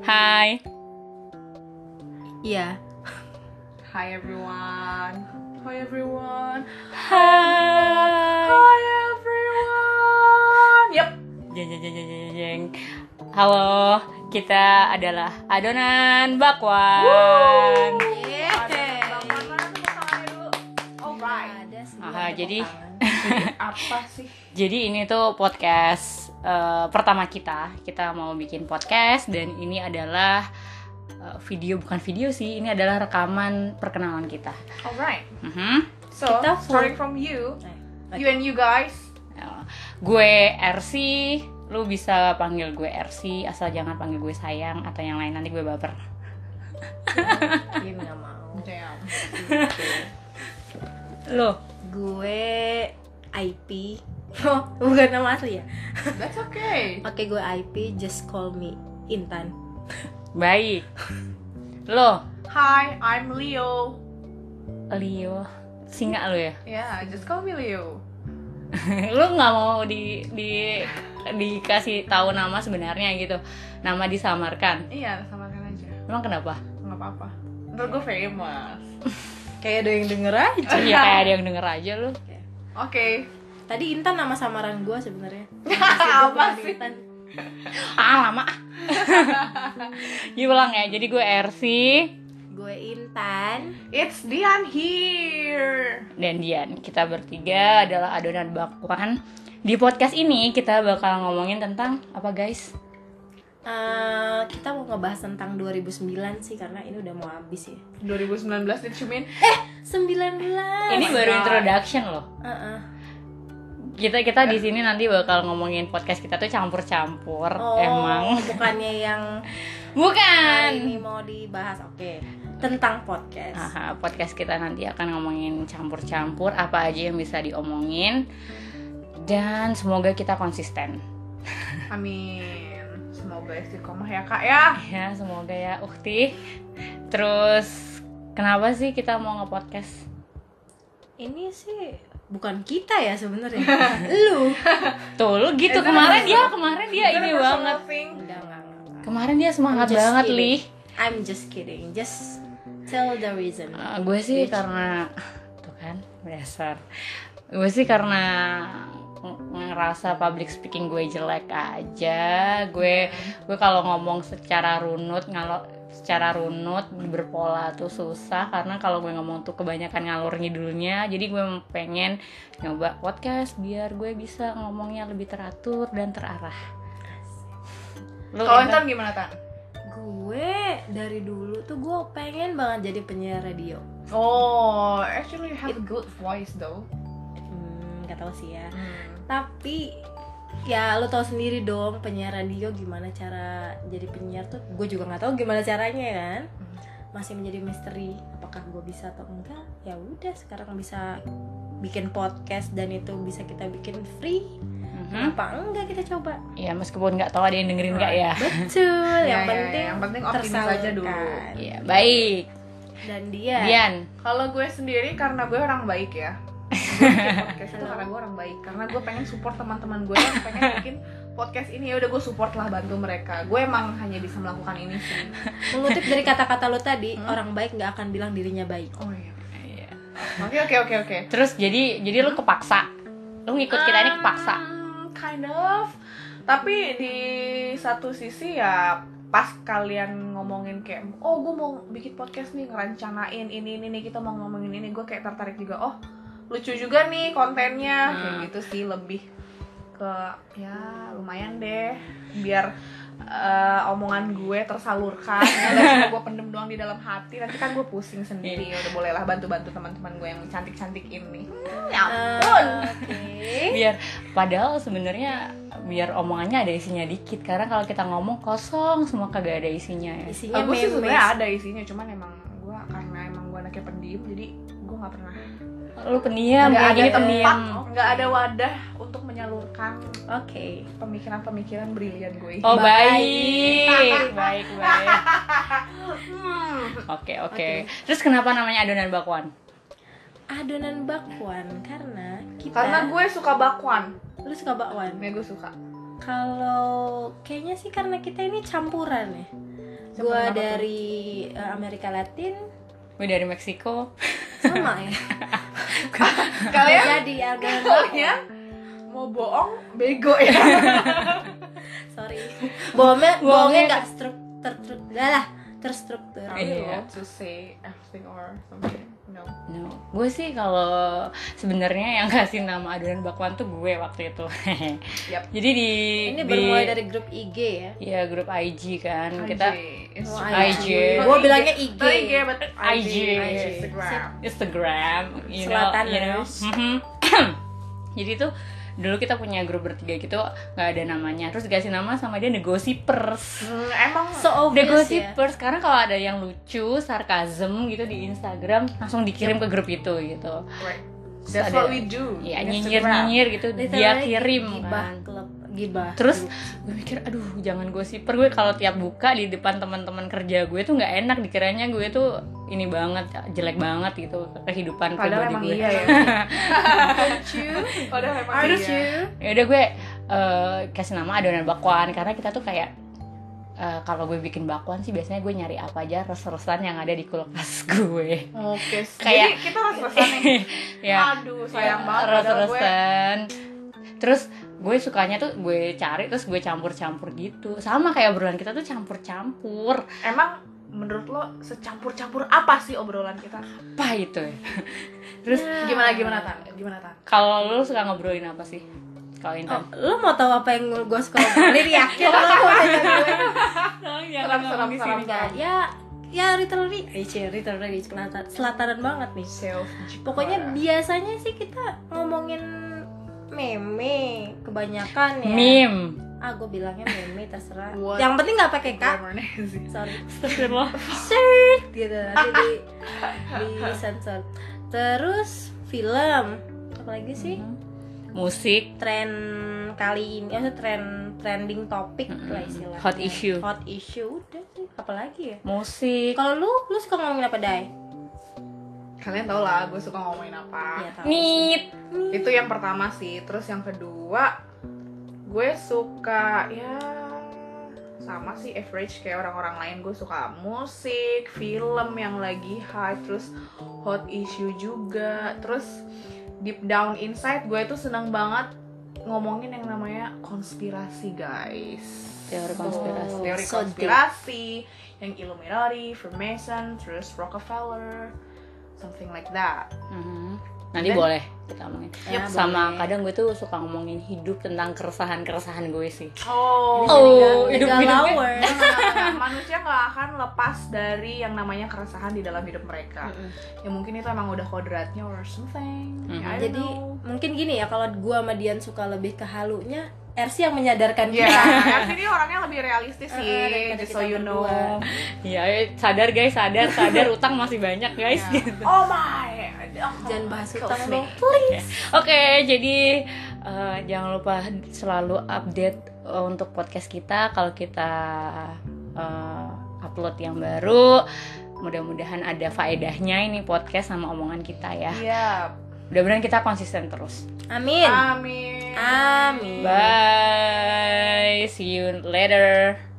Hai. Iya. Hi everyone. Hi everyone. Hai. Hi everyone. Yap. Jeng jeng jeng jeng jeng, jeng. Halo, kita adalah adonan bakwan. Ada sebuah Aha, jadi apa sih jadi ini tuh podcast eh, pertama kita. Kita mau bikin podcast dan ini adalah eh, video bukan video sih, ini adalah rekaman perkenalan kita. alright Mhm. so Kita full- starting from you Oke. you and you guys Eh, gue RC lu bisa panggil gue RC asal jangan panggil gue sayang atau yang lain nanti gue baper Iya, nggak mau. damn lo Gue IP. Oh, bukan nama asli ya. that's okay Oke, gue IP. Just call me Intan. baik lo hi I'm Leo Leo singa lo ya yeah just call me Leo lu nggak mau di di dikasih tahu nama sebenarnya gitu nama disamarkan iya sama kan aja emang kenapa nggak apa-apa ntar gue famous Kayak ada yang denger aja. iya kayak ada yang denger aja lu oke Tadi Intan nama samaran gue sebenarnya. apa Nama sih Intan. ah lama ya ulang ya jadi gue RC Gue Intan. it's Dian here dan Dian. Kita bertiga adalah adonan bakwan. Di podcast ini kita bakal ngomongin tentang apa guys? Eh, kita mau ngebahas tentang 2009 sih karena ini udah mau habis ya. 2019 dicumin 19. Ini baru my. introduction loh. Heeh. Kita kita di sini nanti bakal ngomongin podcast kita tuh campur-campur Oh. emang. bukannya yang hari Bukan. ini mau dibahas oke tentang podcast. Aha, podcast kita nanti akan ngomongin campur-campur apa aja yang bisa diomongin dan semoga kita konsisten. amin semoga istiqomah ya kak ya Ya, semoga ya Ukti. Terus kenapa sih kita mau nge-podcast? Ini sih bukan kita ya sebenarnya. Lu Tuh lu gitu Eh, kemarin terus. dia kemarin dia ini Personal banget. thing. enggak enggak enggak, enggak. Kemarin dia semangat Just banget kidding. li. I'm just kidding. Just tell the reason. Eh, gue sih karena tuh kan dasar. Gue sih karena ng- ngerasa public speaking gue jelek aja. Gue gue kalau ngomong secara runut kalau secara runut berpola tuh susah karena kalau gue ngomong tuh kebanyakan ngalur ngidulnya jadi gue pengen nyoba podcast biar gue bisa ngomongnya lebih teratur dan terarah Lu kalau Intan? Intan gimana Tan? Gue dari dulu tuh gue pengen banget jadi penyiar radio. Oh, actually you have a good voice though. Hmm, gak tau sih ya. Hmm. tapi ya lo tau sendiri dong penyiar radio gimana cara jadi penyiar tuh gue juga nggak tahu gimana caranya kan Hmm. masih menjadi misteri apakah gue bisa atau enggak ya udah sekarang bisa bikin podcast dan itu bisa kita bikin free Mhm. Hmm? kenapa enggak kita coba Ya meskipun nggak tahu ada yang dengerin nggak ya. betul yang penting ya, yang penting optimis aja dulu. tersalurkan. Iya baik. dan dia Dian, Kalau gue sendiri karena gue orang baik ya. Gue bikin podcast itu karena gue orang baik karena gue pengen support teman-teman gue yang pengen bikin podcast ini ya udah gue support lah bantu mereka gue emang hanya bisa melakukan ini sih mengutip dari kata-kata lo tadi Hmm. orang baik nggak akan bilang dirinya baik oh iya oke oke oke oke terus jadi jadi lu kepaksa. Lu ngikut kita ini kepaksa. Ah. Um, kind of tapi di satu sisi ya pas kalian ngomongin kayak oh gue mau bikin podcast nih ngerencanain ini ini nih kita mau ngomongin ini gue kayak tertarik juga oh lucu juga nih kontennya kayak Hmm. gitu sih lebih ke ya lumayan deh biar eh, omongan gue tersalurkan dan gue pendem doang di dalam hati nanti kan gue pusing sendiri Iya. ya udah bolehlah bantu-bantu teman-teman gue yang cantik-cantik ini Hmm, ya ampun Ah, oke Biar padahal sebenarnya biar omongannya ada isinya dikit karena kalau kita ngomong kosong semua kagak ada isinya ya. isinya Aku sih memes. sebenarnya ada isinya, cuman emang gue karena emang gue anaknya pendiam, jadi gue nggak pernah Lu pendiam, nggak ada ya, tempat, pendiam. nggak ada wadah untuk menyalurkan oke pemikiran-pemikiran brilian gue. Oh baik, Baik. baik baik. Hmm. Oke oke. Oke. Terus kenapa namanya adonan bakwan? adonan bakwan karena kita Karena gue suka bakwan, lu suka Iya. bakwan ya gue suka. kalau kayaknya sih karena kita ini campuran ya gue Cepet banget dari eh, Amerika Latin gue dari Meksiko sama ya Kalian jadi agak Soalnya mau bohong bego ya. sorry bohongnya bohongnya Bohongnya nggak struk ter, ter, lah lah, terstruktur Iya. you want to say everything or something? No. no. gue sih kalau sebenarnya yang kasih nama adonan bakwan tuh gue waktu itu Yap. jadi di ini di- bermulai dari grup IG ya ya grup IG kan kita It's- Oh, IG. Gua bilangnya IG. Not IG, but IG. IG. Instagram. Instagram, you know, Selatan, you know. guys. Mhm. Jadi tuh dulu kita punya grup bertiga gitu nggak ada namanya. Terus dikasih nama sama dia negosipers. Hmm, emang so obvious ya Negosipers karena kalau ada yang lucu, sarkasm gitu di Instagram langsung dikirim ke grup itu gitu. right. That's Ada- what we do. Ya in nyinyir Instagram. nyinyir gitu dia Literally kirim gibah kan. klub gibah Terus gue mikir aduh jangan gosiper gue kalau tiap buka di depan teman-teman kerja gue tuh nggak enak dikiranya gue tuh ini banget jelek banget gitu kehidupan pribadi Padahal emang gue. iya ya. Aren't you? Padahal emang Aren't iya. you? ya udah gue eh, kasih nama adonan bakwan karena kita tuh kayak eh, kalau gue bikin bakwan sih biasanya gue nyari apa aja res-resan yang ada di kulkas gue Oke. Iya. Kayak- Jadi kita res-resan nih. ya Aduh, Ah, sayang banget padahal gue. res-resan terus gue sukanya tuh gue cari terus gue campur-campur gitu sama kayak obrolan kita tuh campur-campur Emang menurut lo secampur-campur apa sih obrolan kita? apa itu ya terus Ya. Gimana gimana tan? Gimana tan? kalau lu suka ngobrolin apa sih kalau Intan Oh, lu mau tahu apa yang gue suka ngobrolin yakin iya. lu mau tanya gue Seram seram seram. enggak ya ya literally eh cie, literally selatan selataran banget nih Self. pokoknya biasanya sih kita ngomongin meme kebanyakan ya meme ah gue bilangnya meme terserah What? yang penting nggak pakai k Gimana sorry Astagfirullah shirt gitu nanti di di sensor terus film apa lagi sih musik tren kali ini maksudnya tren trending topik lah istilahnya Hot issue. hot issue udah sih apalagi ya musik kalau lu lu suka ngomongin apa dai Kalian tau lah gue suka ngomongin Ah. apa. Iya, tahu sih. nit Itu yang pertama sih. Terus yang kedua, gue suka ya sama sih average kayak orang-orang lain gue suka musik, film yang lagi high, terus hot issue juga, terus deep down inside gue itu senang banget ngomongin yang namanya konspirasi guys Teori konspirasi. Oh, teori so deep. konspirasi yang Illuminati, Freemason, terus Rockefeller, something like that. Mhm. Nanti Dan- boleh kita omongin. Ya, Sama boleh. kadang gue tuh suka ngomongin hidup tentang keresahan-keresahan gue sih. Oh, Oh, Jadi hidup- hidupnya. galauer. manusia nggak akan lepas dari yang namanya keresahan di dalam hidup mereka. Mm-mm. Ya mungkin itu emang udah kodratnya or something. Mhm. I don't jadi know. mungkin gini ya kalau gua sama Dian suka lebih ke halunya RC yang menyadarkan Ya, kita Ersi ini orangnya lebih realistis sih, Eh, eh, daripada just so kita you know. berdua. Iya, eh, sadar guys, sadar, sadar utang masih banyak guys. Ya. Gitu. Oh my, oh, jangan bahas excuse utang me. dong Oke, jadi eh, jangan lupa selalu update eh, untuk podcast kita kalau kita eh, upload yang baru. Mudah-mudahan ada faedahnya ini podcast sama omongan kita ya. Iya. Mudah-mudahan kita konsisten terus. amin Amin. amin Bye. See you later.